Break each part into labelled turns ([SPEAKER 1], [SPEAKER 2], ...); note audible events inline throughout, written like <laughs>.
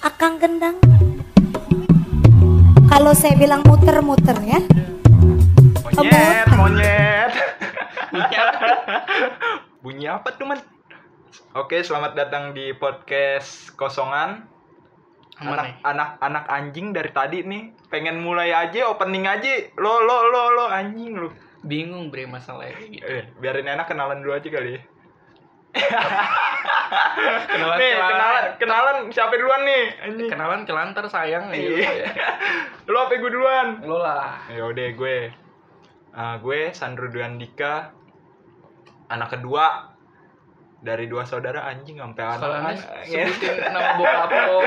[SPEAKER 1] belakang gendang kalau saya bilang muter-muter ya
[SPEAKER 2] Monyet,
[SPEAKER 1] Apa?
[SPEAKER 2] monyet. Bunyi apa? Bunyi apa tuh, Man? Oke, selamat datang di podcast Kosongan.
[SPEAKER 3] Aman nih.
[SPEAKER 2] Anak, anak anak anjing dari tadi nih pengen mulai aja opening aja lo lo lo lo anjing lu
[SPEAKER 3] Bingung bre masalahnya kayak gitu.
[SPEAKER 2] Eh, biarin enak kenalan dulu aja kali ya.
[SPEAKER 3] Kenalan
[SPEAKER 2] nih
[SPEAKER 3] kelan-
[SPEAKER 2] kenalan kenalan siapa duluan nih anjing
[SPEAKER 3] Kenalan kelantar sayang nih.
[SPEAKER 2] Iya. lo apa gue duluan
[SPEAKER 3] Lo lah.
[SPEAKER 2] Yaudah gue Ah, Gue Sandro Duandika Anak kedua Dari dua saudara anjing sampai
[SPEAKER 3] Kalau
[SPEAKER 2] anak
[SPEAKER 3] Anas sebutin nama bokap lo,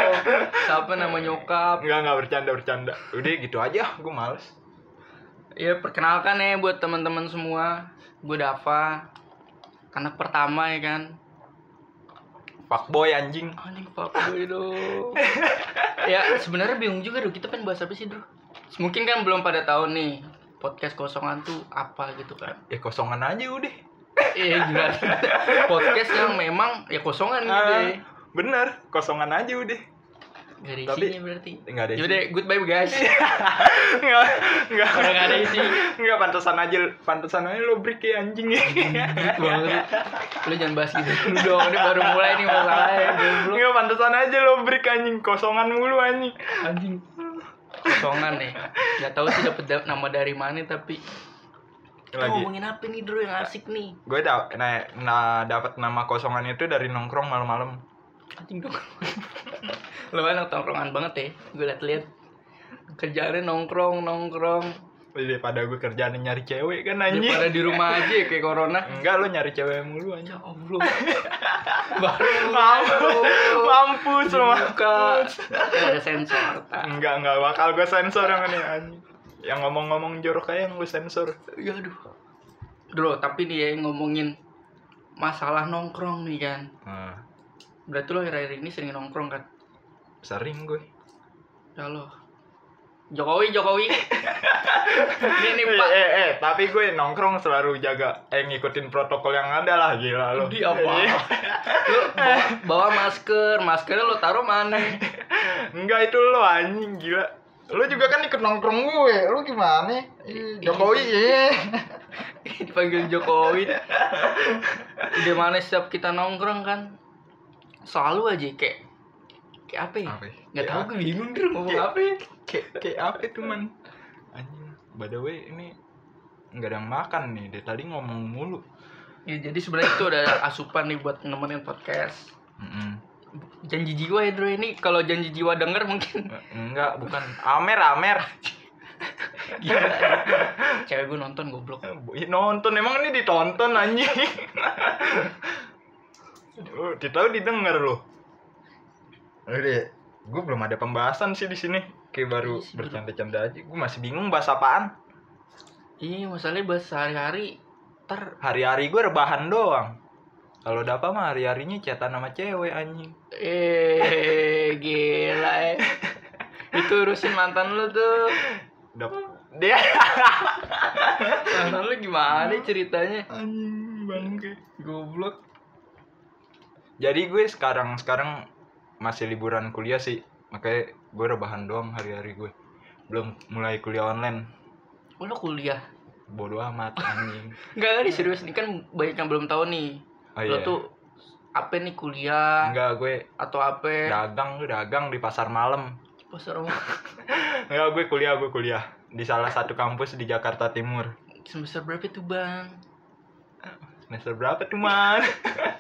[SPEAKER 3] siapa nama nyokap.
[SPEAKER 2] Enggak, enggak bercanda-bercanda Udah gitu aja, gue males
[SPEAKER 3] Ya perkenalkan ya buat teman-teman semua. Gue Dava. Anak pertama ya kan.
[SPEAKER 2] Fuckboy anjing
[SPEAKER 3] Anjing papa gue dong. ya sebenarnya bingung juga dong kita pengen bahas apa sih dong. Mungkin kan belum pada tahu nih podcast kosongan tuh apa gitu kan.
[SPEAKER 2] Ya kosongan aja udah
[SPEAKER 3] Iya
[SPEAKER 2] <laughs>
[SPEAKER 3] gimana? podcast yang memang ya kosongan gitu
[SPEAKER 2] Ah,
[SPEAKER 3] ya.
[SPEAKER 2] Bener, kosongan aja udah
[SPEAKER 3] Gak ada
[SPEAKER 2] Tapi-
[SPEAKER 3] isinya berarti.
[SPEAKER 2] Enggak ada
[SPEAKER 3] Yaudah, goodbye
[SPEAKER 2] <laughs>
[SPEAKER 3] guys.
[SPEAKER 2] Enggak, enggak
[SPEAKER 3] Udah nggak ada isi.
[SPEAKER 2] Enggak, pantesan aja Pantesan aja lo break ya anjing
[SPEAKER 3] Gitu banget. Lu jangan bahas gitu dulu dong. Ini baru mulai nih masalahnya. ya, Belum
[SPEAKER 2] Enggak, pantesan aja lo break anjing Kosongan mulu anjing
[SPEAKER 3] anjing. Kosongan nih. Gak tahu sih dapet da- nama dari mana tapi kita
[SPEAKER 2] Lagi.
[SPEAKER 3] ngomongin apa nih Dro yang asik nih?
[SPEAKER 2] gue da nah, nah dapat nama kosongan itu dari nongkrong malam-malam
[SPEAKER 3] Anjing dong. <laughs> Lu kan anak tongkrongan banget ya. Gue liat-liat kerjaannya nongkrong nongkrong.
[SPEAKER 2] daripada gue kerjaan nyari cewek kan anjing
[SPEAKER 3] Daripada di rumah aja ya, kayak
[SPEAKER 2] <laughs>
[SPEAKER 3] corona.
[SPEAKER 2] enggak lo nyari cewek mulu anjing
[SPEAKER 3] Ya Allah. Baru
[SPEAKER 2] mampus mampus lo
[SPEAKER 3] buka. Ada sensor. tak.
[SPEAKER 2] enggak enggak bakal gue sensor yang ini anjing yang ngomong-ngomong jorok aja yang gue sensor
[SPEAKER 3] Ya aduh. Bro, tapi dia yang ngomongin masalah nongkrong nih kan.
[SPEAKER 2] nah,
[SPEAKER 3] Berarti lo akhir-akhir ini sering nongkrong kan?
[SPEAKER 2] sering gue
[SPEAKER 3] Ya lo. Jokowi, Jokowi. ini nih Pak.
[SPEAKER 2] eh, eh, eh, tapi gue nongkrong selalu jaga eh ngikutin protokol yang ada lah gila lo
[SPEAKER 3] Di apa? lo bawa, bawa masker, maskernya lo taruh mana? <laughs>
[SPEAKER 2] enggak itu lo anjing gila lo juga kan ikut nongkrong gue lo gimana Ih, Jokowi iya
[SPEAKER 3] Dipanggil Jokowi. Di mana setiap kita nongkrong kan? Selalu aja kayak kayak apa ya?
[SPEAKER 2] Apa ya?
[SPEAKER 3] Gak
[SPEAKER 2] Kayak
[SPEAKER 3] tau
[SPEAKER 2] apa?
[SPEAKER 3] gue bingung dulu ngomong
[SPEAKER 2] Kayak-
[SPEAKER 3] apa ya.
[SPEAKER 2] kayak kayak apa itu man anjing by the way ini nggak ada yang makan nih dari tadi ngomong mulu
[SPEAKER 3] Ya, jadi sebenarnya itu ada asupan nih buat nemenin podcast. janji jiwa ya Dro ini kalau janji jiwa denger mungkin <laughs>
[SPEAKER 2] enggak bukan amer amer
[SPEAKER 3] gila cewek gue nonton goblok
[SPEAKER 2] Ih, nonton emang ini ditonton anjing Oh, ditahu didengar loh Udah, gue belum ada pembahasan sih di sini kayak baru
[SPEAKER 3] Iya sih,
[SPEAKER 2] bercanda-canda aja gue masih bingung bahas apaan
[SPEAKER 3] iya masalahnya bahas sehari-hari ter
[SPEAKER 2] hari-hari gue rebahan doang kalau dapat mah hari-harinya chatan sama cewek anjing
[SPEAKER 3] eh gila ya itu urusin mantan lu tuh
[SPEAKER 2] Dap dia
[SPEAKER 3] mantan lu gimana ceritanya
[SPEAKER 2] anjing bangke
[SPEAKER 3] goblok
[SPEAKER 2] jadi gue sekarang sekarang masih liburan kuliah sih makanya gue rebahan doang hari-hari gue belum mulai kuliah online
[SPEAKER 3] oh, lo kuliah
[SPEAKER 2] bodoh
[SPEAKER 3] <laughs>
[SPEAKER 2] amat anjing
[SPEAKER 3] enggak enggak nih serius nih kan banyak yang belum tahu nih
[SPEAKER 2] oh,
[SPEAKER 3] lo
[SPEAKER 2] iya.
[SPEAKER 3] tuh apa nih kuliah
[SPEAKER 2] enggak gue
[SPEAKER 3] atau apa
[SPEAKER 2] dagang gue dagang di pasar malam
[SPEAKER 3] Pasar rumah.
[SPEAKER 2] enggak gue kuliah gue kuliah di salah satu kampus di Jakarta Timur
[SPEAKER 3] semester berapa tuh bang
[SPEAKER 2] semester berapa tuh man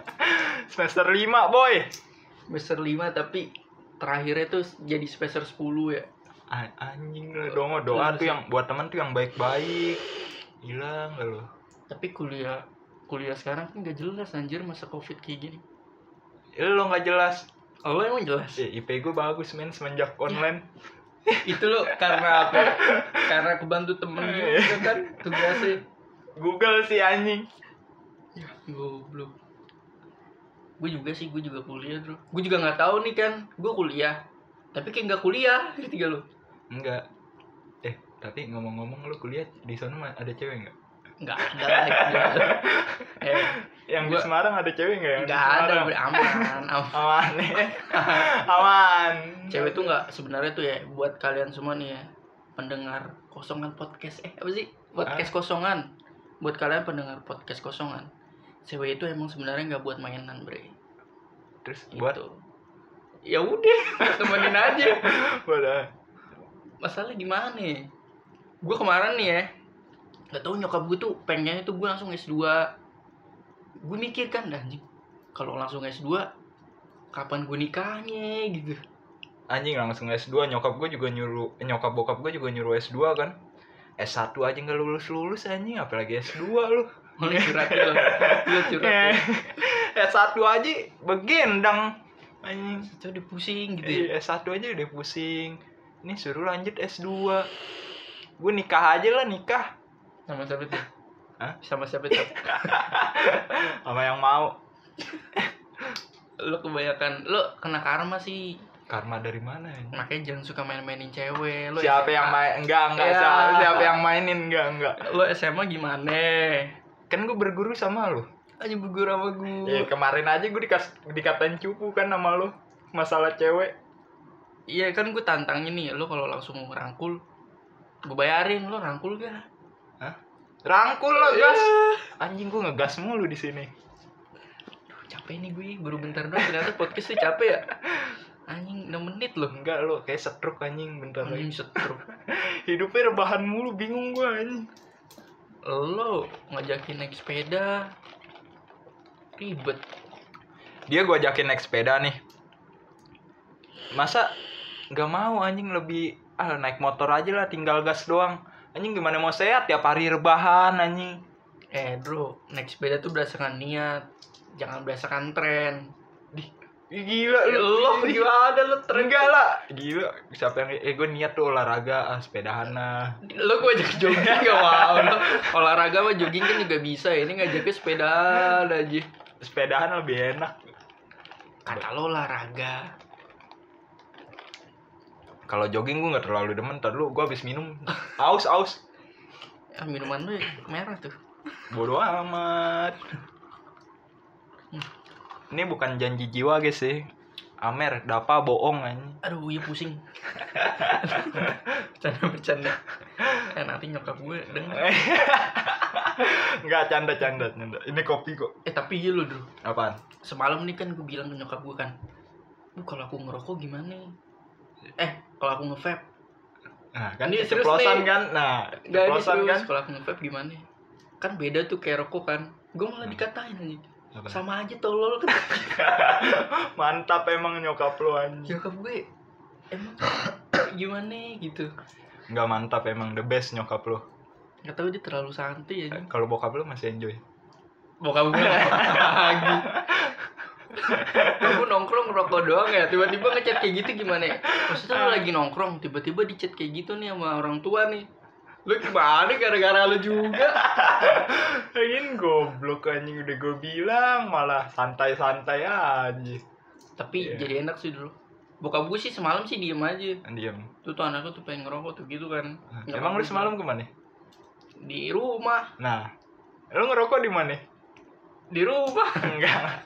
[SPEAKER 2] <laughs> semester 5 boy
[SPEAKER 3] semester 5 tapi terakhirnya tuh jadi semester 10 ya
[SPEAKER 2] A- anjing lu dong
[SPEAKER 3] Iya
[SPEAKER 2] doa tuh yang buat temen tuh yang baik-baik gila enggak lo
[SPEAKER 3] tapi kuliah kuliah sekarang kan gak jelas anjir masa covid kayak gini
[SPEAKER 2] lo Ya nggak jelas
[SPEAKER 3] oh, lo emang jelas
[SPEAKER 2] Eh, IP gue bagus men semenjak online
[SPEAKER 3] <laughs> itu lo karena apa karena kebantu temen gitu kan tugasnya
[SPEAKER 2] Google sih anjing
[SPEAKER 3] goblok gue juga sih gue juga kuliah bro gue juga nggak tahu nih kan gue kuliah tapi kayak nggak kuliah ketiga lo
[SPEAKER 2] Enggak Eh tapi ngomong-ngomong lu kuliah di sana mah ada cewek nggak?
[SPEAKER 3] nggak ada lah <laughs> gitu. eh,
[SPEAKER 2] Yang di
[SPEAKER 3] Gua-
[SPEAKER 2] Semarang ada cewek nggak yang di
[SPEAKER 3] nggak ada
[SPEAKER 2] Semarang?
[SPEAKER 3] bre, aman, aman.
[SPEAKER 2] <laughs> Aman ya. Aman.
[SPEAKER 3] cewek tuh nggak sebenarnya tuh ya buat kalian semua nih ya pendengar kosongan podcast eh apa sih podcast kosongan buat kalian pendengar podcast kosongan cewek itu emang sebenarnya nggak buat mainan bre
[SPEAKER 2] Terus buat
[SPEAKER 3] gitu ya udah <laughs> temenin aja
[SPEAKER 2] buat apa?
[SPEAKER 3] masalah gimana nih gue kemarin nih ya nggak tahu nyokap gue tuh pengennya tuh gue langsung S2 gue mikir kan "Dah, anjing kalau langsung S2 kapan gue nikahnya gitu
[SPEAKER 2] anjing langsung S2 nyokap gue juga nyuruh eh, nyokap bokap gue juga nyuruh S2 kan S1 aja nggak lulus lulus anjing apalagi S2 <laughs> lu
[SPEAKER 3] Lu curhat ya, lu
[SPEAKER 2] <laughs> Eh,
[SPEAKER 3] curhat ya.
[SPEAKER 2] S1 aja begendang anjing
[SPEAKER 3] itu udah pusing gitu ya.
[SPEAKER 2] Iya, S1 aja udah pusing ini suruh lanjut S2 gue nikah aja lah nikah
[SPEAKER 3] sama siapa tuh
[SPEAKER 2] Hah?
[SPEAKER 3] sama siapa tuh
[SPEAKER 2] sama yang mau
[SPEAKER 3] lu kebanyakan lu kena karma sih
[SPEAKER 2] karma dari mana anjing?
[SPEAKER 3] makanya jangan suka main-mainin cewek lu
[SPEAKER 2] siapa
[SPEAKER 3] SMA
[SPEAKER 2] yang main enggak enggak
[SPEAKER 3] Ya.
[SPEAKER 2] siapa, siapa yang mainin enggak enggak
[SPEAKER 3] lu SMA gimana
[SPEAKER 2] kan gue berguru sama lu
[SPEAKER 3] aja gugur sama gue
[SPEAKER 2] Iya kemarin aja gue dikas dikatain cupu kan sama lu masalah cewek
[SPEAKER 3] Iya kan gue tantangin nih lo kalau langsung rangkul gue bayarin lo rangkul gak?
[SPEAKER 2] Rangkul lo gas. Iya. Anjing gua ngegas mulu di sini.
[SPEAKER 3] Duh, capek nih gue baru bentar doang ternyata podcast tuh capek ya anjing 6 menit loh
[SPEAKER 2] Enggak lo kayak setruk anjing bentar lagi.
[SPEAKER 3] anjing setruk
[SPEAKER 2] Hidupnya rebahan mulu bingung gua anjing.
[SPEAKER 3] lo ngajakin naik sepeda ribet
[SPEAKER 2] Dia gua ajakin naik sepeda nih. Masa nggak mau anjing lebih ah naik motor aja lah tinggal gas doang. Anjing gimana mau sehat tiap hari rebahan anjing.
[SPEAKER 3] eh bro naik sepeda tuh berdasarkan niat jangan berdasarkan tren
[SPEAKER 2] Ih, Ya Gila lu.
[SPEAKER 3] lo gimana lo tren
[SPEAKER 2] Enggak lah. Gila, siapa yang eh gua niat tuh olahraga, ah, sepedahan lah.
[SPEAKER 3] lo gue ajak jogging <laughs> gak mau lo olahraga mah jogging kan juga bisa ya. ini ngajaknya sepeda aja
[SPEAKER 2] Sepedahan lebih enak.
[SPEAKER 3] kata lo olahraga
[SPEAKER 2] Kalau jogging gua nggak terlalu demen, ntar lu gua habis minum. Aus aus.
[SPEAKER 3] Ah, minuman lu merah tuh.
[SPEAKER 2] Bodoh amat. Ini bukan janji jiwa guys sih. Amer, Dapa bohong anjing.
[SPEAKER 3] Aduh, iya pusing. <laughs> Bercanda-bercanda. Eh, nanti nyokap gue denger.
[SPEAKER 2] <laughs> Enggak canda canda canda. Ini kopi kok.
[SPEAKER 3] Eh, tapi iya lo, Dru.
[SPEAKER 2] Apaan?
[SPEAKER 3] Semalam nih kan gue bilang ke nyokap gue kan. Bu, kalau aku ngerokok gimana? Eh, kalau aku nge-vape.
[SPEAKER 2] Nah, kan
[SPEAKER 3] Ini serius
[SPEAKER 2] keceplosan
[SPEAKER 3] nih.
[SPEAKER 2] kan. Nah,
[SPEAKER 3] Gak ini
[SPEAKER 2] keceplosan kan.
[SPEAKER 3] serius, kalau aku nge-vape gimana? Kan beda tuh kayak rokok kan. Gue malah dikatain aja.
[SPEAKER 2] Apa?
[SPEAKER 3] Sama aja tolol kan. <laughs>
[SPEAKER 2] Mantap emang nyokap lu anjing.
[SPEAKER 3] nyokap gue emang gimana gitu.
[SPEAKER 2] Enggak mantap emang the best nyokap lu. Eh,
[SPEAKER 3] Gak tau dia terlalu santai aja.
[SPEAKER 2] Kalau bokap lu masih enjoy.
[SPEAKER 3] bokap gue nongkrong <laughs> lagi kamu nongkrong rokok doang ya tiba-tiba ngechat kayak gitu gimana ya maksudnya lu lagi nongkrong tiba-tiba dichat kayak gitu nih sama orang tua nih lu gimana gara-gara lu juga
[SPEAKER 2] Angin goblok anjing udah gue bilang malah santai-santai aja. Iya.
[SPEAKER 3] tapi jadi enak sih dulu bokap gue sih semalam sih diem aja
[SPEAKER 2] Diam.
[SPEAKER 3] tuh tuh anakku tuh pengen ngerokok tuh gitu kan
[SPEAKER 2] Kan
[SPEAKER 3] Nyokap
[SPEAKER 2] Emang lu
[SPEAKER 3] gue
[SPEAKER 2] semalam kemana?
[SPEAKER 3] di rumah
[SPEAKER 2] Nah, lu ngerokok di mana? <laughs>
[SPEAKER 3] di rumah <laughs>
[SPEAKER 2] Enggak.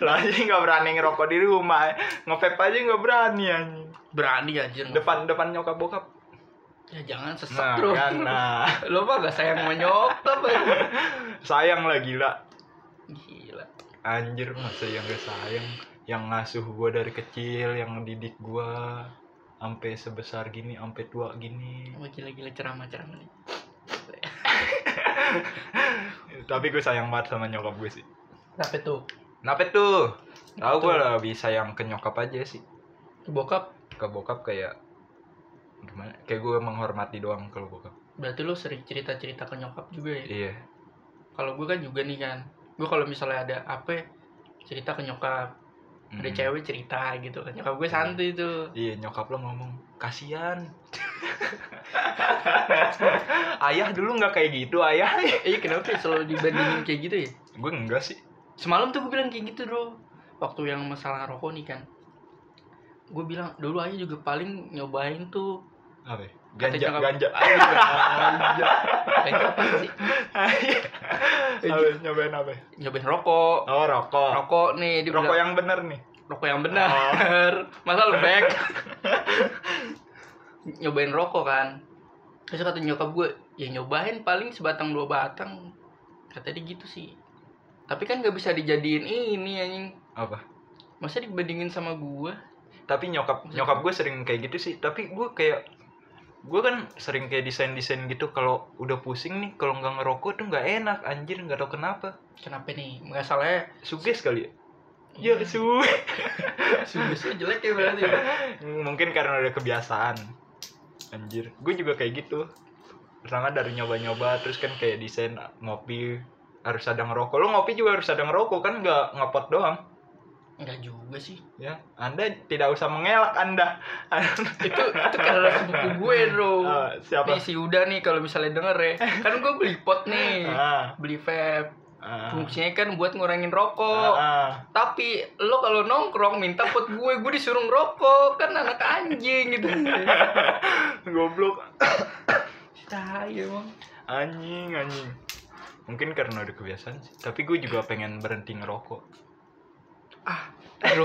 [SPEAKER 2] Lo aja nggak berani ngerokok di rumah. Ngevape aja nggak berani anjing.
[SPEAKER 3] berani aja
[SPEAKER 2] Depan depan nyokap bokap.
[SPEAKER 3] ya jangan sesek
[SPEAKER 2] Nah,
[SPEAKER 3] bro
[SPEAKER 2] kan,
[SPEAKER 3] <laughs>
[SPEAKER 2] nah.
[SPEAKER 3] lo mah gak sayang menyokap
[SPEAKER 2] Sayang lah gila.
[SPEAKER 3] gila
[SPEAKER 2] Anjir masa yang gak sayang yang ngasuh gua dari kecil, yang didik gua sampai sebesar gini, sampai tua gini.
[SPEAKER 3] Wah gila-gila ceramah-ceramah nih
[SPEAKER 2] Tapi gue sayang banget sama nyokap gue sih. Gitu.
[SPEAKER 3] Kenapa tuh?
[SPEAKER 2] Kenapa tuh? Tahu
[SPEAKER 3] Betul.
[SPEAKER 2] gua lebih sayang ke nyokap aja sih.
[SPEAKER 3] Bokap
[SPEAKER 2] Ke bokap kayak gimana? Kayak gue menghormati doang kalau bokap.
[SPEAKER 3] Berarti lo sering cerita-cerita ke nyokap juga ya?
[SPEAKER 2] Iya.
[SPEAKER 3] Kalau gue kan juga nih kan Gue kalau misalnya ada apa Cerita ke nyokap Ada
[SPEAKER 2] Mm.
[SPEAKER 3] cewek cerita gitu kan Nyokap gue santai tuh <coughs>
[SPEAKER 2] Iya nyokap lo ngomong kasihan. <laughs> ayah dulu nggak kayak gitu ayah.
[SPEAKER 3] Eh kenapa ya selalu dibandingin kayak gitu ya?
[SPEAKER 2] Gue enggak sih.
[SPEAKER 3] Semalam tuh gue bilang kayak gitu bro Waktu yang masalah rokok nih kan Gue bilang dulu aja juga paling nyobain tuh
[SPEAKER 2] apa ya? ganja
[SPEAKER 3] nyokap-
[SPEAKER 2] ganja
[SPEAKER 3] Ayo,
[SPEAKER 2] <laughs> ganja
[SPEAKER 3] Pengen apa Eh, sih?
[SPEAKER 2] apa Iya. nyobain apa
[SPEAKER 3] Nyobain rokok.
[SPEAKER 2] oh rokok rokok, ya?
[SPEAKER 3] Rokok nih di
[SPEAKER 2] yang bener nih
[SPEAKER 3] rokok yang benar. <laughs> Masa lu back? nyobain rokok kan. Terus kata nyokap gue, ya nyobain paling sebatang dua batang. Kata dia gitu sih. Tapi kan gak bisa dijadiin ini anjing.
[SPEAKER 2] apa
[SPEAKER 3] Masa dibandingin sama gue?
[SPEAKER 2] tapi nyokap nyokap gue sering kayak gitu sih tapi gue kayak gue kan sering kayak desain desain gitu kalau udah pusing nih kalau nggak ngerokok tuh nggak enak anjir nggak tau kenapa
[SPEAKER 3] Kenapa nih? Nggak salahnya
[SPEAKER 2] suges kali ya ya su
[SPEAKER 3] Susu jelek ya berarti.
[SPEAKER 2] Hmm, mungkin karena udah kebiasaan anjir gue juga kayak gitu pertama dari nyoba nyoba terus kan kayak desain ngopi harus ada ngerokok lo ngopi juga harus ada ngerokok kan nggak ngepot doang
[SPEAKER 3] Enggak juga sih.
[SPEAKER 2] ya anda tidak usah mengelak anda <laughs>
[SPEAKER 3] Itu itu karena sepupu gue, Bro.
[SPEAKER 2] Ah,
[SPEAKER 3] Nih
[SPEAKER 2] siapa
[SPEAKER 3] si Uda nih kalau misalnya denger ya. Kan gue beli pot nih.
[SPEAKER 2] ah,
[SPEAKER 3] Beli vape.
[SPEAKER 2] ah,
[SPEAKER 3] Fungsinya kan buat ngurangin
[SPEAKER 2] ah,
[SPEAKER 3] rokok.
[SPEAKER 2] ah.
[SPEAKER 3] Tapi lo kalau nongkrong minta pot gue, gue disuruh ngerokok. Kan anak anjing
[SPEAKER 2] <laughs>
[SPEAKER 3] gitu.
[SPEAKER 2] goblok
[SPEAKER 3] Tai emang.
[SPEAKER 2] anjing anjing mungkin karena udah kebiasaan sih tapi gue juga pengen berhenti ngerokok
[SPEAKER 3] Lo,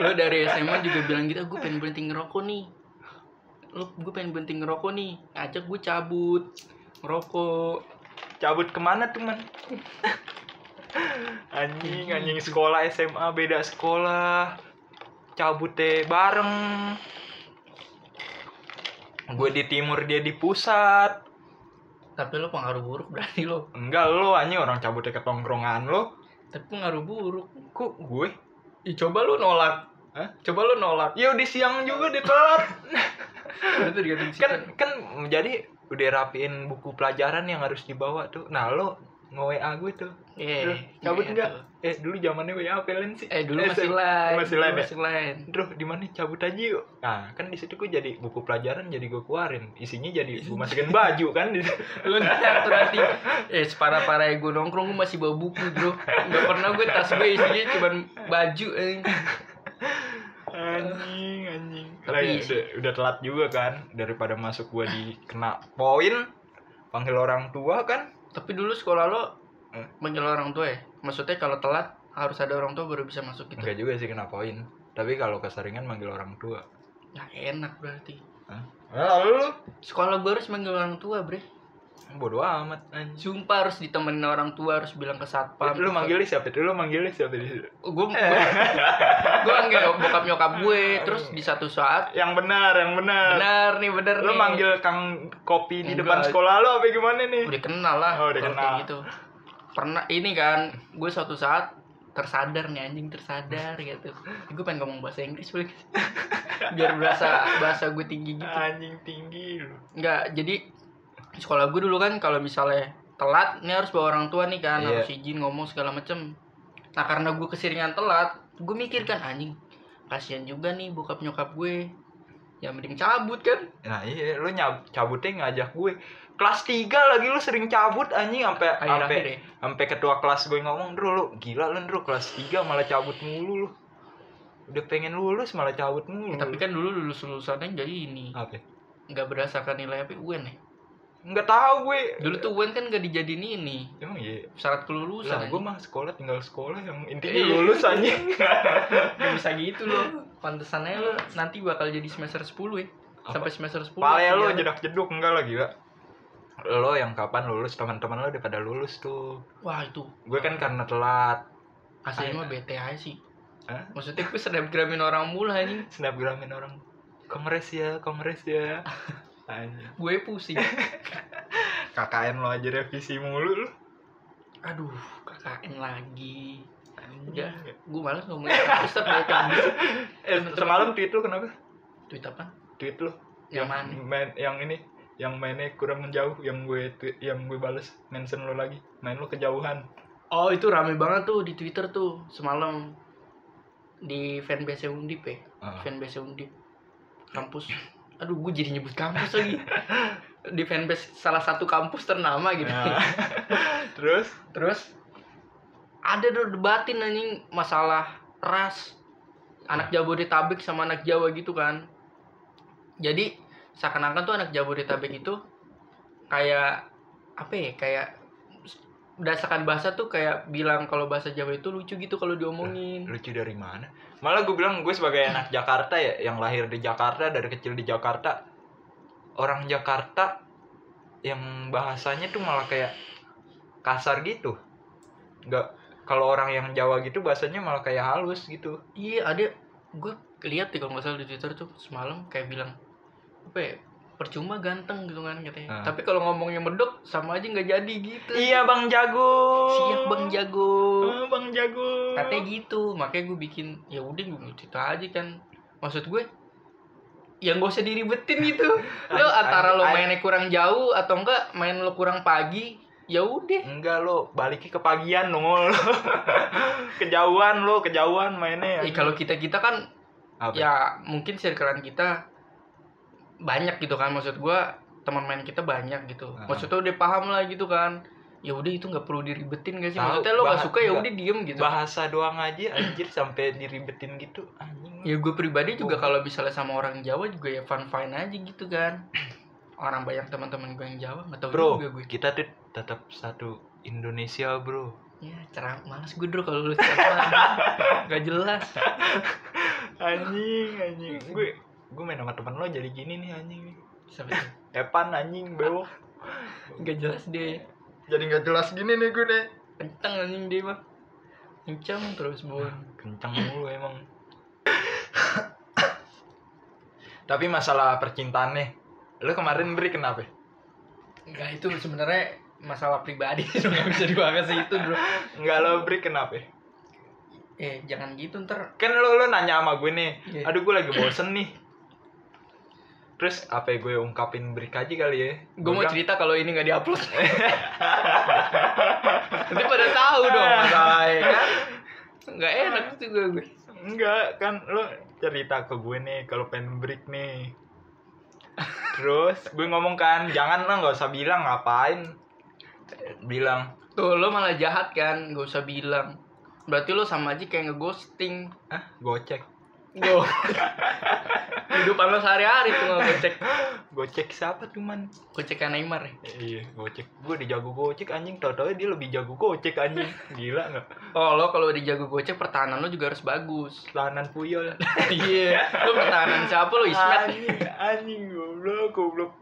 [SPEAKER 3] lo dari SMA juga bilang gitu, gue pengen berhenti ngerokok nih. Lo, gue pengen berhenti ngerokok nih. Ajak gue cabut. Ngerokok.
[SPEAKER 2] cabut kemana tuh
[SPEAKER 3] <laughs>
[SPEAKER 2] man anjing anjing sekolah SMA beda sekolah cabut deh bareng gue di timur dia di pusat
[SPEAKER 3] Tapi lo pengaruh buruk berarti lo.
[SPEAKER 2] enggak lo anjing orang cabutnya ke tongkrongan lo
[SPEAKER 3] tapi pengaruh buruk
[SPEAKER 2] kok gue
[SPEAKER 3] Ih, coba lu nolak
[SPEAKER 2] Hah?
[SPEAKER 3] coba lu nolak
[SPEAKER 2] ya udah siang juga di
[SPEAKER 3] <laughs>
[SPEAKER 2] telat
[SPEAKER 3] itu dikatakan
[SPEAKER 2] kan kan jadi udah rapiin buku pelajaran yang harus dibawa tuh nah lo nge WA gue tuh
[SPEAKER 3] Iya,
[SPEAKER 2] Duh, cabut enggak eh dulu zamannya WA apa lain sih
[SPEAKER 3] eh dulu
[SPEAKER 2] Eh,
[SPEAKER 3] masih
[SPEAKER 2] se-
[SPEAKER 3] lain
[SPEAKER 2] masih
[SPEAKER 3] dulu
[SPEAKER 2] lain ya?
[SPEAKER 3] masih lain
[SPEAKER 2] Duh, di mana cabut aja yuk. Nah, kan di situ gue jadi buku pelajaran jadi gue keluarin. Isinya jadi gue <laughs> masukin baju kan. di situ.
[SPEAKER 3] lu ntar nanti eh separah parah gue nongkrong gue masih bawa buku bro nggak pernah gue tas gue isinya cuman baju eh.
[SPEAKER 2] Anjing, anjing.
[SPEAKER 3] Tapi
[SPEAKER 2] Lah, ya,
[SPEAKER 3] isi-
[SPEAKER 2] udah, udah telat juga kan daripada masuk gue dikena poin panggil orang tua kan.
[SPEAKER 3] tapi dulu sekolah lo
[SPEAKER 2] Eh.
[SPEAKER 3] manggil orang tua ya maksudnya kalau telat harus ada orang tua baru bisa masuk gitu
[SPEAKER 2] Enggak juga sih kena poin. Tapi kalau keseringan manggil orang tua. Ya,
[SPEAKER 3] nggak enak berarti
[SPEAKER 2] Lalu
[SPEAKER 3] sekolah gue harus manggil orang tua bre
[SPEAKER 2] bodo amat anjing.
[SPEAKER 3] sumpah harus ditemenin orang tua harus bilang ke satpam
[SPEAKER 2] Lu manggil siapa? Lu manggil siapa di situ?
[SPEAKER 3] gue gue manggil bokap nyokap gue terus di satu saat
[SPEAKER 2] Yang benar, yang benar.
[SPEAKER 3] benar nih benar
[SPEAKER 2] Lu
[SPEAKER 3] nih.
[SPEAKER 2] manggil Kang Kopi di depan
[SPEAKER 3] Enggak.
[SPEAKER 2] sekolah lu apa gimana nih?
[SPEAKER 3] udah kenal lah
[SPEAKER 2] Oh, udah
[SPEAKER 3] kalau
[SPEAKER 2] kenal.
[SPEAKER 3] kayak gitu pernah ini kan gue suatu saat tersadar nih anjing tersadar gitu gue pengen ngomong bahasa Inggris boleh nggak sih? <laughs> biar berasa bahasa gue tinggi gitu
[SPEAKER 2] Anjing tinggi lu.
[SPEAKER 3] nggak jadi sekolah gue dulu kan kalau misalnya telat nih harus bawa orang tua nih kan
[SPEAKER 2] Iya.
[SPEAKER 3] harus izin ngomong segala macem nah karena gue keseringan telat gue mikir kan anjing kasihan juga nih bokap nyokap gue ya mending cabut kan
[SPEAKER 2] Nah iya, lu nyab, cabutnya ngajak gue. Kelas 3 lagi lu sering cabut anjing sampai
[SPEAKER 3] akhir
[SPEAKER 2] sampai
[SPEAKER 3] akhir ya
[SPEAKER 2] sampai ketua kelas gue ngomong, "Dru, lu gila lu, Dru, kelas 3 malah cabut mulu lu." Udah pengen lulus malah cabut mulu.
[SPEAKER 3] tapi kan dulu lulus lulusannya jadi ini
[SPEAKER 2] apa? ya?
[SPEAKER 3] nggak berdasarkan nilai apa UN ya
[SPEAKER 2] Nggak tahu gue.
[SPEAKER 3] dulu tuh UN kan nggak dijadiin ini
[SPEAKER 2] Emang iya. Lah,
[SPEAKER 3] syarat kelulusan
[SPEAKER 2] gue
[SPEAKER 3] anjing.
[SPEAKER 2] mah sekolah tinggal sekolah yang intinya
[SPEAKER 3] Iya.
[SPEAKER 2] lulus
[SPEAKER 3] <laughs>
[SPEAKER 2] anjing.
[SPEAKER 3] Nggak bisa gitu loh pantesan aja lo nanti bakal jadi semester 10 ya
[SPEAKER 2] Apa?
[SPEAKER 3] sampai semester 10
[SPEAKER 2] Pale lu
[SPEAKER 3] Iya.
[SPEAKER 2] jedak jeduk enggak lah gila. Lo yang kapan lulus teman-teman lo udah pada lulus tuh.
[SPEAKER 3] wah itu
[SPEAKER 2] Gue kan karena telat
[SPEAKER 3] Aslinya
[SPEAKER 2] Ayo.
[SPEAKER 3] mah bete aja sih.
[SPEAKER 2] Hah?
[SPEAKER 3] Maksudnya gue snapgramin orang mulu anjing.
[SPEAKER 2] snapgramin orang kongres ya, kongres
[SPEAKER 3] <laughs>
[SPEAKER 2] ya. Anjing.
[SPEAKER 3] Gue pusing.
[SPEAKER 2] KKN lo aja revisi mulu lu.
[SPEAKER 3] Aduh, KKN lagi.
[SPEAKER 2] Ya.
[SPEAKER 3] Udah, gue malas ngomongin kampus terbaik kampus.
[SPEAKER 2] Eh, semalam tweet lu kenapa?
[SPEAKER 3] Tweet apa?
[SPEAKER 2] Tweet lu
[SPEAKER 3] Yang mana?
[SPEAKER 2] main yang ini yang mainnya kurang menjauh yang gue tweet, yang gue bales mention lu lagi main lu kejauhan
[SPEAKER 3] Oh, itu rame banget tuh di Twitter tuh semalam di fanbase Undip ya. Fanbase Undip. <laughs> Kampus. Aduh, gue jadi nyebut kampus lagi. di fanbase salah satu kampus ternama gitu.
[SPEAKER 2] Nah. <laughs> terus
[SPEAKER 3] Terus ada tuh debatin anjing masalah ras anak Jabodetabek sama anak Jawa gitu kan. Jadi seakan-akan tuh anak Jabodetabek itu kayak apa ya kayak berdasarkan bahasa tuh kayak bilang kalau bahasa Jawa itu lucu gitu kalau diomongin
[SPEAKER 2] lucu dari mana malah gue bilang gue sebagai anak Jakarta ya yang lahir di Jakarta dari kecil di Jakarta orang Jakarta yang bahasanya tuh malah kayak kasar gitu nggak kalau orang yang Jawa gitu bahasanya malah kayak halus gitu
[SPEAKER 3] iya ada gue lihat deh kalau nggak salah di Twitter tuh semalam kayak bilang apa ya percuma ganteng gitu kan katanya
[SPEAKER 2] Ah.
[SPEAKER 3] tapi kalau ngomongnya medok sama aja nggak jadi gitu
[SPEAKER 2] iya Bang Jago
[SPEAKER 3] siap bang
[SPEAKER 2] Oh.
[SPEAKER 3] jago
[SPEAKER 2] Ah, Bang Jago
[SPEAKER 3] katanya gitu makanya gue bikin ya udah gue cerita aja kan maksud gue yang gak usah diribetin
[SPEAKER 2] <laughs>
[SPEAKER 3] gitu lo
[SPEAKER 2] Ay-
[SPEAKER 3] antara lo
[SPEAKER 2] ay-
[SPEAKER 3] mainnya kurang jauh atau enggak main lo kurang pagi ya udah
[SPEAKER 2] enggak lo balikin ke pagian nongol <laughs> kejauhan lo kejauhan mainnya
[SPEAKER 3] Eh, kalau kita kita kan
[SPEAKER 2] Ya, Apa?
[SPEAKER 3] ya mungkin circlean kita banyak gitu kan maksud gue teman main kita banyak gitu
[SPEAKER 2] Ah.
[SPEAKER 3] maksudnya udah paham lah gitu kan ya udah itu nggak perlu diribetin gak sih
[SPEAKER 2] Tahu,
[SPEAKER 3] maksudnya lo
[SPEAKER 2] bahas-
[SPEAKER 3] gak suka ya
[SPEAKER 2] enggak.
[SPEAKER 3] udah diem gitu
[SPEAKER 2] bahasa doang aja anjir sampai diribetin gitu anjing
[SPEAKER 3] ya gue pribadi juga kalau misalnya sama orang Jawa juga ya fun fun aja gitu kan orang banyak teman-teman gue yang Jawa nggak tahu
[SPEAKER 2] bro
[SPEAKER 3] juga gue
[SPEAKER 2] kita tuh tetap satu Indonesia bro
[SPEAKER 3] ya cerah malas gue dulu kalau lu ceramah <laughs> nggak jelas
[SPEAKER 2] anjing anjing gue gue main sama temen lo jadi gini nih anjing
[SPEAKER 3] Siapa tuh?
[SPEAKER 2] Epan anjing bewok
[SPEAKER 3] nggak jelas deh
[SPEAKER 2] jadi nggak jelas gini nih gue nih
[SPEAKER 3] kenceng anjing dia mah kenceng terus bon
[SPEAKER 2] kenceng mulu emang <laughs> tapi masalah percintaan nih lo kemarin beri kenapa
[SPEAKER 3] nggak itu sebenarnya masalah pribadi <laughs> nggak bisa dibahas itu bro
[SPEAKER 2] nggak lo beri kenapa
[SPEAKER 3] eh jangan gitu ntar
[SPEAKER 2] kan lo lo nanya sama gue nih
[SPEAKER 3] Iya.
[SPEAKER 2] aduh gue lagi bosen nih terus apa ya gue ungkapin break aja kali ya
[SPEAKER 3] gue mau
[SPEAKER 2] bilang,
[SPEAKER 3] cerita kalau ini nggak <laughs> diupload nanti pada tahu dong masalahnya kan nggak enak juga gue
[SPEAKER 2] enggak kan lo cerita ke gue nih kalau pengen break nih terus gue ngomong kan jangan lah nggak usah bilang ngapain bilang
[SPEAKER 3] Tuh lo malah jahat kan, gak usah bilang. Berarti lo sama aja kayak ngeghosting.
[SPEAKER 2] ah gocek
[SPEAKER 3] Yo. <laughs> Kehidupan lo sehari-hari tuh nggak gocek.
[SPEAKER 2] gocek siapa cuman
[SPEAKER 3] Gocek kayak Neymar ya.
[SPEAKER 2] iya gocek gue dijago gocek anjing tau tau dia lebih jago gocek anjing gila nggak
[SPEAKER 3] Oh lo kalau udah jago gocek pertahanan lo juga harus bagus.
[SPEAKER 2] lanan puyol
[SPEAKER 3] <laughs> Iya. <laughs> lo pertahanan siapa lo Ismet?
[SPEAKER 2] anjing <laughs> anjing goblok goblok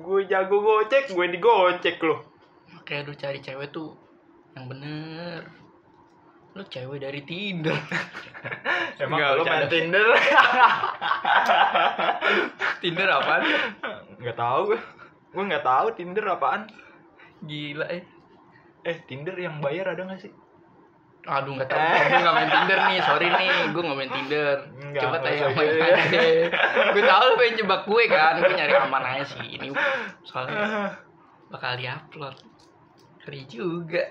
[SPEAKER 2] gue jago gocek gue digocek loh
[SPEAKER 3] Makanya lo cari cewek tuh yang bener. Lo cewek dari Tinder. <laughs>
[SPEAKER 2] emang
[SPEAKER 3] Nggak,
[SPEAKER 2] lo main
[SPEAKER 3] bercanda.
[SPEAKER 2] tinder
[SPEAKER 3] Tinder apaan?
[SPEAKER 2] nggak tahu gue gue nggak tahu tinder apaan
[SPEAKER 3] Gila ya.
[SPEAKER 2] eh tinder yang bayar ada nggak sih
[SPEAKER 3] Aduh nggak tahu, gue nggak main Tinder nih, sorry nih, gue nggak main Tinder.
[SPEAKER 2] Nggak,
[SPEAKER 3] Coba
[SPEAKER 2] nggak
[SPEAKER 3] tanya
[SPEAKER 2] usah
[SPEAKER 3] sama yang
[SPEAKER 2] gitu
[SPEAKER 3] lain
[SPEAKER 2] ya.
[SPEAKER 3] deh. Gue tahu lu pengen jebak gue kan, gue nyari aman aja sih ini. Soalnya bakal diupload. Keri juga.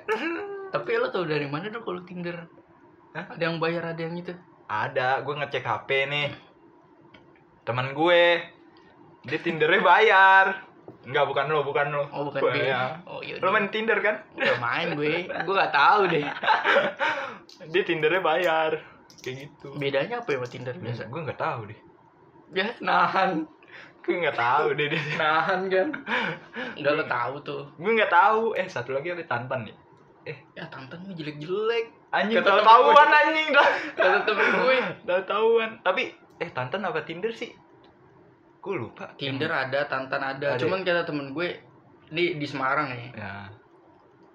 [SPEAKER 3] Tapi lo tau dari mana dong kalau Tinder?
[SPEAKER 2] Hah?
[SPEAKER 3] Ada yang bayar, ada yang itu.
[SPEAKER 2] ada gue ngecek hp nih teman gue dia tindernya bayar nggak bukan lo bukan lo
[SPEAKER 3] Oh bukan
[SPEAKER 2] Gua, ya.
[SPEAKER 3] dia. Oh iya.
[SPEAKER 2] lo main tinder kan
[SPEAKER 3] Udah main gue, gue nggak tahu deh.
[SPEAKER 2] dia tindernya bayar kayak gitu
[SPEAKER 3] Bedanya apa ya sama Tinder biasa?
[SPEAKER 2] gue nggak tahu deh Hmm.
[SPEAKER 3] Ya nahan,
[SPEAKER 2] gue nggak tahu deh deh.
[SPEAKER 3] nahan
[SPEAKER 2] <laughs>
[SPEAKER 3] kan. Udah
[SPEAKER 2] Iya.
[SPEAKER 3] lo tahu tuh.
[SPEAKER 2] gue nggak tahu eh satu lagi apa Tantan nih
[SPEAKER 3] Ya Tantan mah jelek-jelek.
[SPEAKER 2] anjing
[SPEAKER 3] Kata
[SPEAKER 2] udah
[SPEAKER 3] temen gue.
[SPEAKER 2] tahuan anjing dah
[SPEAKER 3] Kata temen gue.
[SPEAKER 2] udah tahuan tapi eh Tantan apa Tinder sih gue lupa
[SPEAKER 3] Tinder ada, Tantan ada.
[SPEAKER 2] Hmm. Ada ya?
[SPEAKER 3] Cuman kata temen gue ini di Semarang ya.
[SPEAKER 2] ya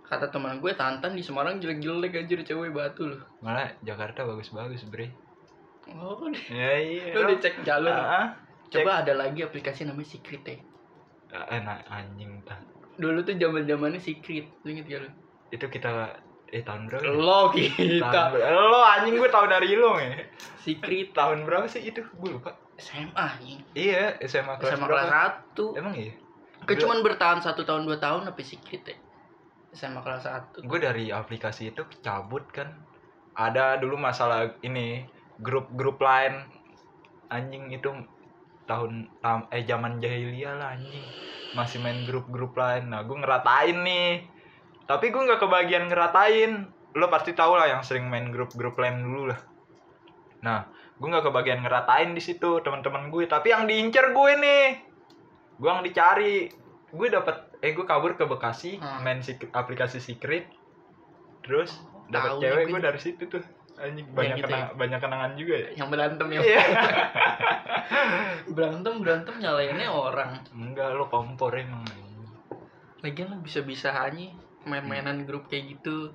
[SPEAKER 3] Kata teman gue Tantan di Semarang jelek-jelek anjir cewek batu loh.
[SPEAKER 2] malah Jakarta bagus-bagus bre
[SPEAKER 3] Oh, udah.
[SPEAKER 2] <laughs> ya iya
[SPEAKER 3] Lu dicek jalur.
[SPEAKER 2] Ah,
[SPEAKER 3] Coba ada lagi aplikasi namanya Secret ya.
[SPEAKER 2] ah, enak anjing Ah, dah
[SPEAKER 3] Dulu tuh zaman-zamannya Secret, lu inget gak lu?
[SPEAKER 2] itu kita eh tahun berapa ya? Tahun
[SPEAKER 3] Lo kita.
[SPEAKER 2] ber- eh, lo anjing gue tahu dari lo ya
[SPEAKER 3] Secret
[SPEAKER 2] tahun berapa sih itu gue lupa
[SPEAKER 3] SMA nih.
[SPEAKER 2] iya SMA kelas
[SPEAKER 3] SMA kelas
[SPEAKER 2] berapa
[SPEAKER 3] 1.
[SPEAKER 2] emang iya
[SPEAKER 3] Gue cuman bertahan 1 tahun 2 tahun tapi Secret ya. SMA kelas 1.
[SPEAKER 2] gue dari aplikasi itu cabut kan ada dulu masalah ini grup-grup lain anjing itu tahun tam- eh zaman jahiliyah lah anjing masih main grup-grup lain nah gue ngeratain nih tapi gue nggak kebagian ngeratain lo pasti tau lah yang sering main grup-grup lain dulu lah nah gue nggak kebagian ngeratain di situ teman-teman gue tapi yang diincer gue nih gue yang dicari gue dapat eh gue kabur ke Bekasi
[SPEAKER 3] Hmm.
[SPEAKER 2] main sek- aplikasi secret terus
[SPEAKER 3] Tahu
[SPEAKER 2] dapat
[SPEAKER 3] nih
[SPEAKER 2] cewek
[SPEAKER 3] gue
[SPEAKER 2] gue dari situ tuh anjing banyak
[SPEAKER 3] gitu
[SPEAKER 2] kena- banyak kenangan juga ya
[SPEAKER 3] yang berantem ya
[SPEAKER 2] <laughs> Iya.
[SPEAKER 3] berantem berantem nyalainnya orang
[SPEAKER 2] enggak lo kompor emang
[SPEAKER 3] lagian lo bisa bisa hanya main-mainan grup kayak gitu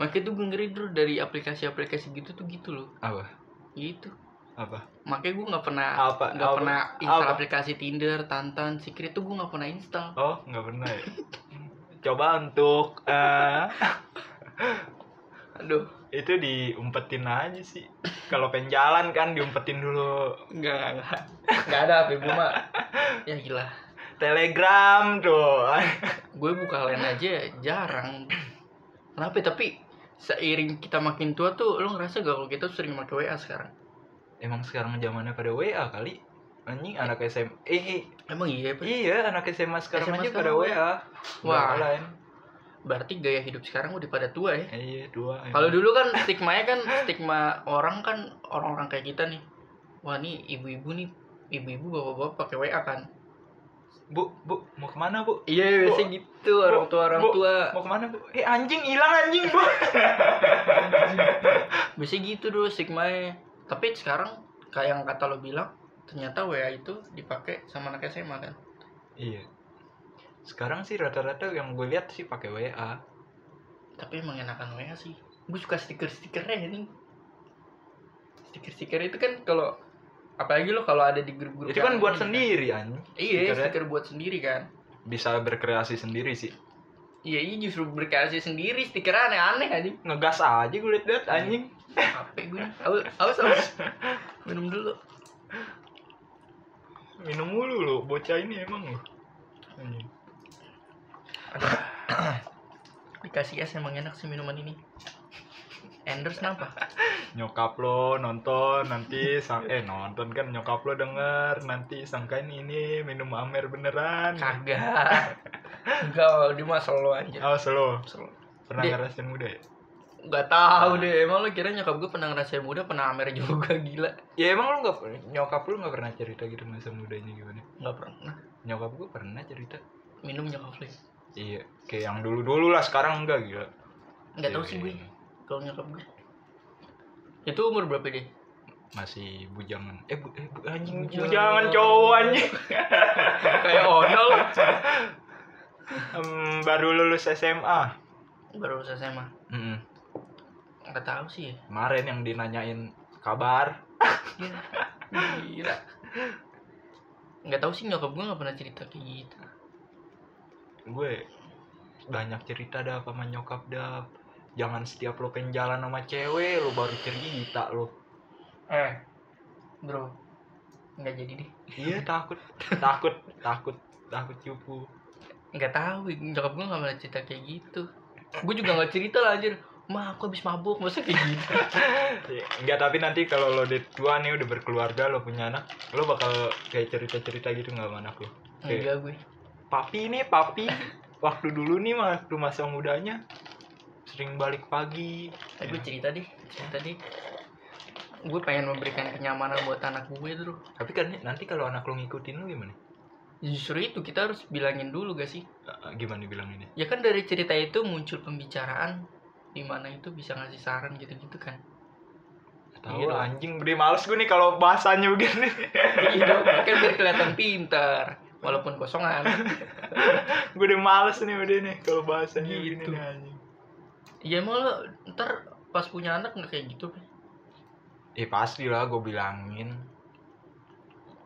[SPEAKER 3] makanya tuh gue ngeri dulu dari aplikasi-aplikasi gitu tuh gitu loh
[SPEAKER 2] apa
[SPEAKER 3] gitu
[SPEAKER 2] apa
[SPEAKER 3] makanya gue nggak pernah
[SPEAKER 2] apa
[SPEAKER 3] nggak
[SPEAKER 2] apa?
[SPEAKER 3] pernah install
[SPEAKER 2] apa?
[SPEAKER 3] aplikasi Tinder, Tantan, Secret tuh gue nggak pernah install
[SPEAKER 2] oh nggak pernah ya <laughs> coba untuk eh,
[SPEAKER 3] aduh
[SPEAKER 2] itu diumpetin aja sih kalau pengen jalan kan diumpetin dulu
[SPEAKER 3] nggak nggak <laughs> nggak nggak ada HP gue mah ya gila
[SPEAKER 2] telegram tuh <laughs>
[SPEAKER 3] gue buka lain aja jarang kenapa ya? tapi seiring kita makin tua tuh lo ngerasa gak kalau kita tuh sering pakai WA sekarang
[SPEAKER 2] emang sekarang zamannya pada WA kali anjing anak SMA eh, eh,
[SPEAKER 3] emang iya Pak?
[SPEAKER 2] iya anak SMA sekarang
[SPEAKER 3] SMA
[SPEAKER 2] aja pada
[SPEAKER 3] sekarang
[SPEAKER 2] WA
[SPEAKER 3] Wah.
[SPEAKER 2] Nggak lain
[SPEAKER 3] berarti gaya hidup sekarang udah pada tua ya
[SPEAKER 2] Eh, iya dua emang.
[SPEAKER 3] Kalau dulu kan stigmanya kan stigma orang kan orang-orang kayak kita nih. Wah nih ibu-ibu nih ibu-ibu bapak-bapak pakai WA kan.
[SPEAKER 2] bu bu mau kemana bu
[SPEAKER 3] Iya
[SPEAKER 2] biasanya
[SPEAKER 3] gitu
[SPEAKER 2] orang
[SPEAKER 3] tua
[SPEAKER 2] orang
[SPEAKER 3] tua.
[SPEAKER 2] mau kemana bu eh anjing hilang anjing bu
[SPEAKER 3] Biasanya gitu dulu stigmanya. Tapi sekarang kayak yang kata lo bilang ternyata WA itu dipakai sama anak SMA kan.
[SPEAKER 2] iya sekarang sih rata-rata yang gue lihat sih pakai WA
[SPEAKER 3] Tapi emang enakan WA sih. Gue suka stiker-stikernya ini. Stiker-stiker itu kan kalau apalagi lo kalau ada di grup-grup
[SPEAKER 2] itu kan
[SPEAKER 3] yang
[SPEAKER 2] buat
[SPEAKER 3] ini
[SPEAKER 2] sendiri anjing
[SPEAKER 3] Iya,
[SPEAKER 2] stikernya.
[SPEAKER 3] stiker buat sendiri kan.
[SPEAKER 2] bisa berkreasi sendiri sih
[SPEAKER 3] Iya, iya justru berkreasi sendiri, stiker aneh-aneh aja.
[SPEAKER 2] ngegas aja gue liat liat anjing
[SPEAKER 3] Capek gue. Aus, aus,
[SPEAKER 2] <laughs>
[SPEAKER 3] aus. Minum dulu.
[SPEAKER 2] minum mulu lo bocah ini emang lo anjing
[SPEAKER 3] Dikasih es emang enak sih minuman ini. Enders kenapa?
[SPEAKER 2] nyokap lo nonton nanti sang eh nonton kan nyokap lo denger nanti sangkain ini minum amer beneran
[SPEAKER 3] Kagak. Enggak, oh, dia mah solo aja.
[SPEAKER 2] awas lo
[SPEAKER 3] Solo.
[SPEAKER 2] pernah
[SPEAKER 3] Dek.
[SPEAKER 2] ngerasain muda ya
[SPEAKER 3] Gak tau deh, emang lo kira nyokap gue pernah ngerasain muda, pernah amer juga, <laughs> gila.
[SPEAKER 2] ya emang lo nggak pernah- nyokap lo nggak pernah cerita gitu masa mudanya gimana
[SPEAKER 3] Gak pernah.
[SPEAKER 2] nyokap gue pernah cerita
[SPEAKER 3] Minum nyokap lo.
[SPEAKER 2] iya kayak yang dulu dulu lah sekarang enggak gila
[SPEAKER 3] Gak tau
[SPEAKER 2] Iya,
[SPEAKER 3] sih
[SPEAKER 2] iya,
[SPEAKER 3] gue,
[SPEAKER 2] iya.
[SPEAKER 3] kalau nyokap gue. Itu umur berapa deh?
[SPEAKER 2] masih bujangan eh, bu, eh bu, anjing
[SPEAKER 3] Bujangan.
[SPEAKER 2] bujangan cowok anjing
[SPEAKER 3] Kayak onol.
[SPEAKER 2] <laughs> Em, baru lulus SMA
[SPEAKER 3] Baru lulus SMA.
[SPEAKER 2] Mm-mm.
[SPEAKER 3] Gak tau sih ya.
[SPEAKER 2] kemarin yang dinanyain kabar
[SPEAKER 3] Iya. Gila. Nggak tahu sih nyokap gue nggak pernah cerita kayak gitu.
[SPEAKER 2] gue banyak cerita dah sama nyokap dah jangan setiap lo pengen jalan sama cewek lo baru cerita lo
[SPEAKER 3] Eh, bro, nggak jadi deh.
[SPEAKER 2] iya takut takut takut takut cupu
[SPEAKER 3] Nggak tahu, nyokap gue nggak pernah cerita kayak gitu. Gue juga nggak cerita lah anjir. Ma, aku habis mabuk, masa kayak gitu?
[SPEAKER 2] Iya, enggak tapi nanti kalau lo udah tua nih udah berkeluarga lo punya anak lo bakal kayak cerita cerita gitu nggak sama anak lo
[SPEAKER 3] Enggak gue.
[SPEAKER 2] papi nih papi waktu dulu nih waktu masa mudanya sering balik pagi
[SPEAKER 3] Eh, gue cerita deh, cerita deh. Gue pengen memberikan kenyamanan buat anak gue dulu.
[SPEAKER 2] tapi kan nanti kalau anak lo ngikutin lo gimana
[SPEAKER 3] Justru itu kita harus bilangin dulu gak sih?
[SPEAKER 2] Eh, gimana bilang ini
[SPEAKER 3] Ya kan dari cerita itu muncul pembicaraan di mana itu bisa ngasih saran gitu-gitu kan.
[SPEAKER 2] tahu
[SPEAKER 3] Iya dong.
[SPEAKER 2] lah, anjing gede males gue nih kalau bahasanya <laughs> begini
[SPEAKER 3] Iya dong, kan biar kelihatan pintar walaupun kosongan.
[SPEAKER 2] gue udah males nih udah nih kalau bahasanya
[SPEAKER 3] Gitu.
[SPEAKER 2] gitu. nih anjing
[SPEAKER 3] Iya emang lo ntar pas punya anak nggak kayak gitu Pe?
[SPEAKER 2] eh pasti lah gue bilangin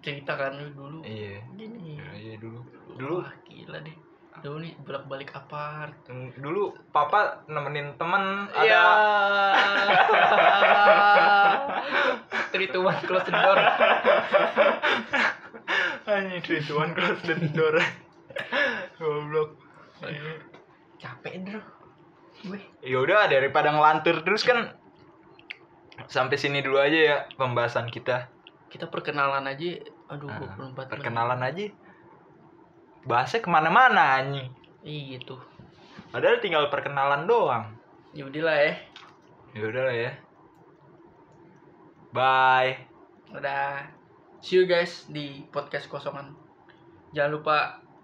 [SPEAKER 3] cerita kan lo dulu
[SPEAKER 2] iya
[SPEAKER 3] gini.
[SPEAKER 2] iya iya dulu
[SPEAKER 3] Dulu
[SPEAKER 2] Dulu-
[SPEAKER 3] Wah, gila deh. Dulu nih bolak balik apart.
[SPEAKER 2] Mm, dulu papa nemenin temen
[SPEAKER 3] Ya.
[SPEAKER 2] ada
[SPEAKER 3] <laughs> Three to one close the door.
[SPEAKER 2] anjing three to one close the door <laughs> goblok Iya.
[SPEAKER 3] Capek bro. Gue
[SPEAKER 2] ya udah daripada ngelantur terus kan sampai sini dulu aja ya pembahasan kita
[SPEAKER 3] kita perkenalan aja. Aduh,
[SPEAKER 2] Ah,
[SPEAKER 3] 24 menit.
[SPEAKER 2] perkenalan aja bahasnya kemana-mana anjing
[SPEAKER 3] Iya tuh.
[SPEAKER 2] padahal tinggal perkenalan doang
[SPEAKER 3] Ya udah lah ya.
[SPEAKER 2] Ya udah lah ya. Bye.
[SPEAKER 3] Udah. See you guys di podcast kosongan. jangan lupa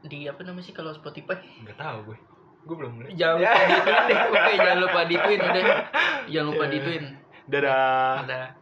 [SPEAKER 3] di apa namanya sih kalau Spotify
[SPEAKER 2] nggak tahu gue gue belum mulai
[SPEAKER 3] jangan lupa dituin deh oke jangan lupa dituin udah jangan lupa
[SPEAKER 2] Iya.
[SPEAKER 3] dituin
[SPEAKER 2] dadah
[SPEAKER 3] ada